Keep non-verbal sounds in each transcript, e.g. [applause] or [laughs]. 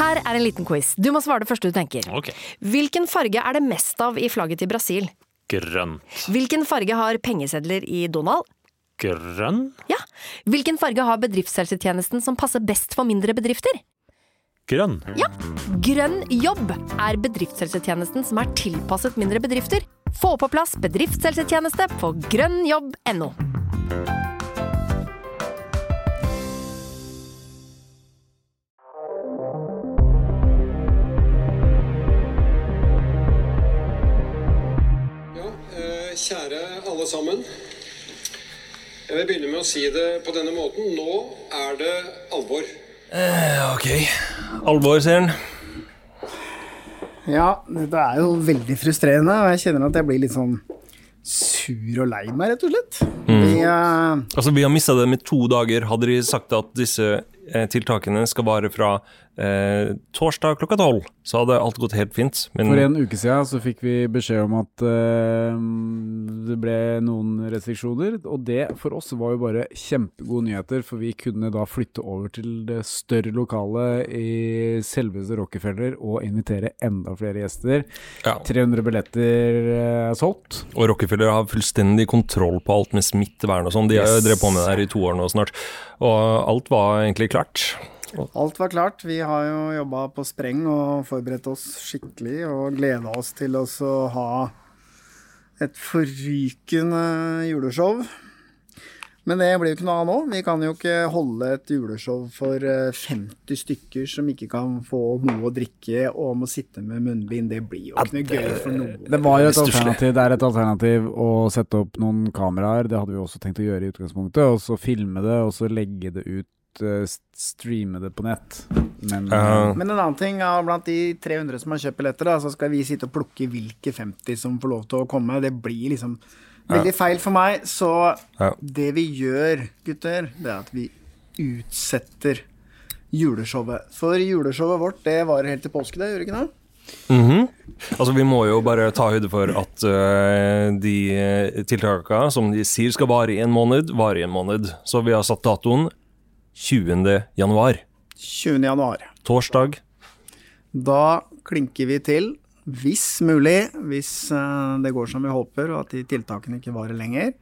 Her er en liten quiz. Du må svare det første du tenker. Ok. Hvilken farge er det mest av i flagget til Brasil? Grønt. Hvilken farge har pengesedler i Donald? Grønn. Ja. Hvilken farge har bedriftshelsetjenesten som passer best for mindre bedrifter? Grønn. Ja. Grønn jobb er bedriftshelsetjenesten som er tilpasset mindre bedrifter. Få på plass bedriftshelsetjeneste på grønnjobb.no. Ja, eh, kjære alle sammen. Jeg vil begynne med å si det på denne måten. Nå er det alvor. Ok. Alvor, ser han. Ja, dette er jo veldig frustrerende, og jeg kjenner at jeg blir litt sånn sur og lei meg, rett og slett. Vi, eh, Altså, vi har mista det med to dager. Hadde de sagt at disse eh, tiltakene skal vare fra eh, torsdag klokka tolv, så hadde alt gått helt fint. Men For en uke siden så fikk vi beskjed om at eh, det ble noen restriksjoner, og det for oss var jo bare kjempegode nyheter, for vi kunne da flytte over til det større lokalet i selveste Rockefeller og invitere enda flere gjester. ja, 300 billetter eh, er solgt. og Rockefeller har fullstendig kontroll på alt med smittevern og sånn. De har jo Yes. drevet på med det her i to år nå snart. Og alt var egentlig klart. alt var klart. Vi har jo jobba på spreng og forberedt oss skikkelig og gleda oss til oss å ha et forrykende juleshow. Men det blir jo ikke noe av nå. Vi kan jo ikke holde et juleshow for eh, 50 stykker som ikke kan få noe å drikke og må sitte med munnbind. Det blir jo ikke noe gøy for noen. Det var jo et Stusslig. alternativ, det er et alternativ å sette opp noen kameraer, det hadde vi også tenkt å gjøre i utgangspunktet, og så filme det, og så legge det ut, eh, s- streame det på nett. Men Eh, Men en annen ting er blant de 300 som har kjøpt billetter, da, så skal vi sitte og plukke hvilke 50 som får lov til å komme. Det blir liksom veldig feil for meg. Så Ja. det vi gjør, gutter, det er at vi utsetter juleshowet. For juleshowet vårt, det varer helt til påske, det, gjør det ikke det? Mhm. Altså Vi må jo bare ta høyde for at øh, de øh, tiltakene som de sier skal vare i en måned, varer i en måned. Så vi har satt datoen 20. januar. 20. januar. Torsdag. Da klinker vi til, hvis mulig, hvis eh, det går som vi håper, og at de tiltakene ikke varer lenger,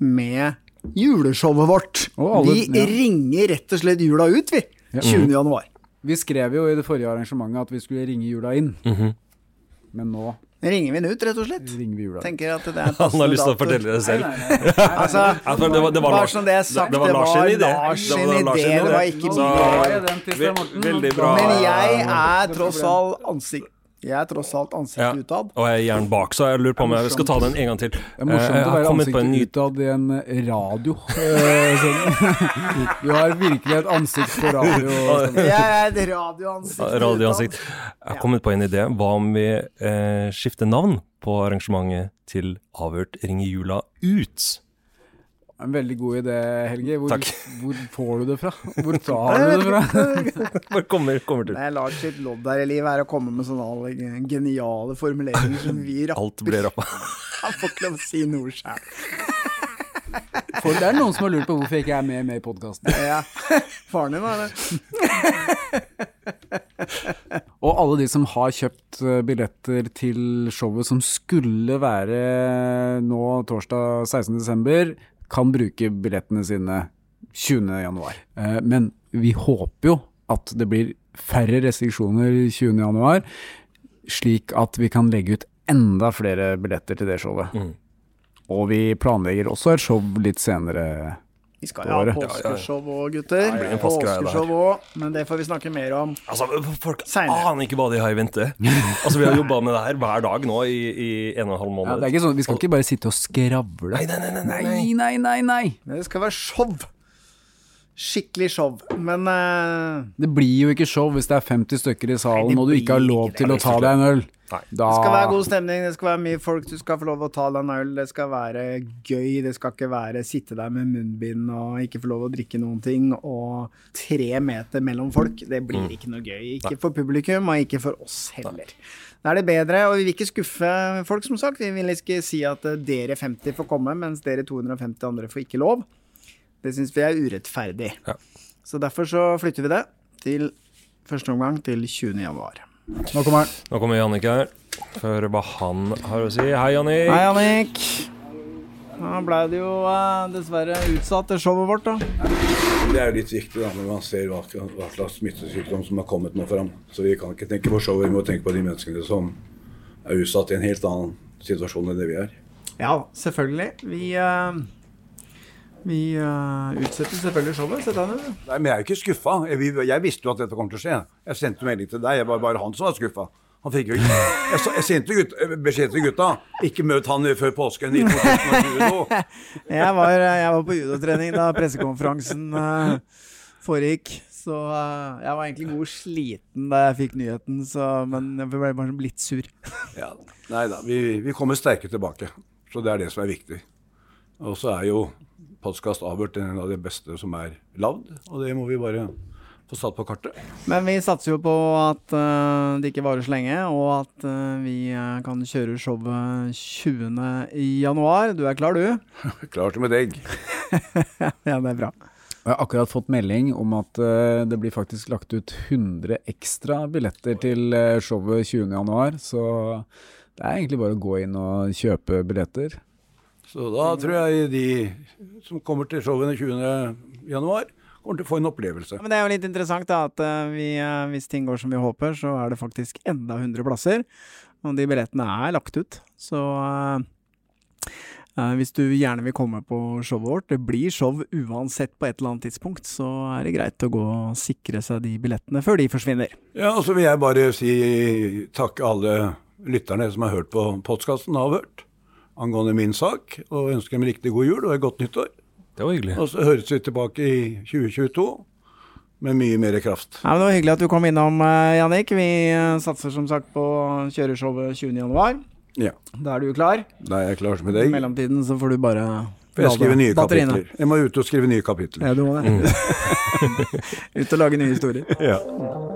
med juleshowet vårt. Å, alle- vi ja. ringer rett og slett jula ut, vi. 20. Mm. januar. vi skrev jo i det forrige arrangementet at vi skulle ringe jula inn, Mhm. men nå Ringer vi den ut, rett og slett? ringer vi jula inn. Tenker at det er [laughs] Han har lyst til å passende dato. fortelle det selv. Altså, Ja, for det var, det var Bare Lars, sånn det er sagt, det var det Lars var sin idé. Lars Det var sin Lars idé, det var ikke Så, min idé. Den til Stein ve Morten. veldig bra. Men jeg er tross alt ansikt Jeg er tross alt ansiktet Ja. utad. Og jeg er gjerne bak, så jeg lurer på om jeg skal ta den en gang til. [laughs] Det er Eh, morsomt jeg å har være kommet på en ansiktet ny utad i en radio. eh, sånn. [laughs] Du har virkelig et ansikt på radio. sånn. Jeg er et radioansikt. utad. radioansikt. Jeg har kommet på en idé. Hva om vi eh, skifter navn på arrangementet til Avhørt ringer jula ut? [laughs] En veldig god idé, Helge. Hvor, Takk. hvor får du det fra? Hvor tar du det fra? Bare kommer, kommer til. Det er Lars sitt lodd her i livet er å komme med sånne alle geniale formuleringer som vi rapper. Alt blir rappa. [laughs] Han får ikke lov å si noe sjæl. For det er noen som har lurt på hvorfor jeg ikke er med, med i podkasten. Ja. Faren din, er det? Og alle de som har kjøpt eh, billetter til showet som skulle være nå torsdag 16.12., kan bruke billettene sine 20.1. Men vi håper jo at det blir færre restriksjoner 20.1, slik at vi kan legge ut enda flere billetter til det showet. Og vi planlegger også et show litt senere. Vi skal jo ha Året. påskeshow òg, gutter. blir en påskegreie, det her. Påskeshow òg, men det får vi snakke mer om. Altså, folk Senere. aner ikke hva de har i vente. [laughs] Altså, vi har jobba med det her hver dag nå i, i en og en halv Ja, måned. det er ikke sånn, vi skal ikke bare sitte og skravle. Nei, nei, nei, nei, nei, nei. nei, nei, nei. Men det skal være show. Skikkelig show. Men eh, Det blir jo ikke show hvis det er 50 stykker i salen det og du ikke har blir lov ikke det. til å ta deg en øl. Nei. Da, det skal være god stemning, det skal være mye folk, du skal få lov å ta deg en øl, det skal være gøy, det skal ikke være sitte der med munnbind og ikke få lov å drikke noen ting, og tre meter mellom folk, det blir ikke noe gøy. Ikke for publikum, og ikke for oss heller. Da er det bedre, og vi vil ikke skuffe folk, som sagt. Vi vil ikke si at eh, dere 50 får komme, mens dere 250 andre får ikke lov. Det syns vi er urettferdig. Ja. Så derfor så flytter vi det til Første omgang til 20. januar. Nå kommer den. Nå kommer Jannik her. Før hva han har å si. Hei, Jannik. Hei, Annik. Nå ble det jo eh, dessverre utsatt, det showet vårt, da. Det er jo litt viktig da, når man ser hva, hva slags smittesykdom som har kommet nå fram. Så vi kan ikke tenke på showet, vi må tenke på de menneskene som er utsatt i en helt annen situasjon enn det vi er. Ja, selvfølgelig. Vi, eh, vi eh, utsetter selvfølgelig showet. Sett deg ned. Nei, men jeg er jo ikke skuffa. Jeg, vi- jeg visste jo at dette kom til å skje. Jeg sendte melding til deg. Jeg var bare han som var skuffa. Han fikk jo ikke Jeg, sa- jeg sendte gutt, beskjed til gutta. Ikke møt han før påsken i 2020 nå. Jeg var, eh, jeg var på judotrening da pressekonferansen eh, foregikk. Så eh, jeg var egentlig god sliten da jeg fikk nyheten, så, men jeg ble bare litt sur. Ja. Nei da. Vi, vi kommer sterke tilbake. Så det er det som er viktig. Og så er jo podkast Avhørt en av de beste som er lagd, og det må vi bare få satt på kartet. Men vi satser jo på at eh, det ikke varer så lenge, og at eh, vi eh, kan kjøre showet 20. januar. Du er klar, du? Klart med deg. Ja, det er bra. Jeg har akkurat fått melding om at eh, det blir faktisk lagt ut 100 ekstra billetter til eh, showet 20.1, så det er egentlig bare å gå inn og kjøpe billetter. Så da tror jeg de som kommer til showene 20. januar, kommer til å få en opplevelse. Men det er jo litt interessant da, at eh, vi, eh, hvis ting går som vi håper, så er det faktisk enda 100 plasser. Og de billettene er lagt ut. Så eh, eh, hvis du gjerne vil komme på showet vårt, det blir show uansett på et eller annet tidspunkt, så er det greit å gå og sikre seg de billettene før de forsvinner. Ja, og så vil jeg bare si takk alle lytterne som har hørt på podkasten Avhørt angående min sak, og ønsker dem riktig god jul og et godt nyttår. Det var hyggelig. Og så høres vi tilbake i 2022 med mye mer kraft. Ja, men det var hyggelig at du kom innom, eh, Jannik. Vi eh, satser som sagt på å kjøre showet 20. januar. Ja, Da er du klar. da er jeg klar med I deg. mellomtiden så får du bare For jeg skriver nye batteriene. kapitler. [laughs] Jeg må ut og skrive nye kapitler. Ja, du må det. Ut og lage nye historier. Ja.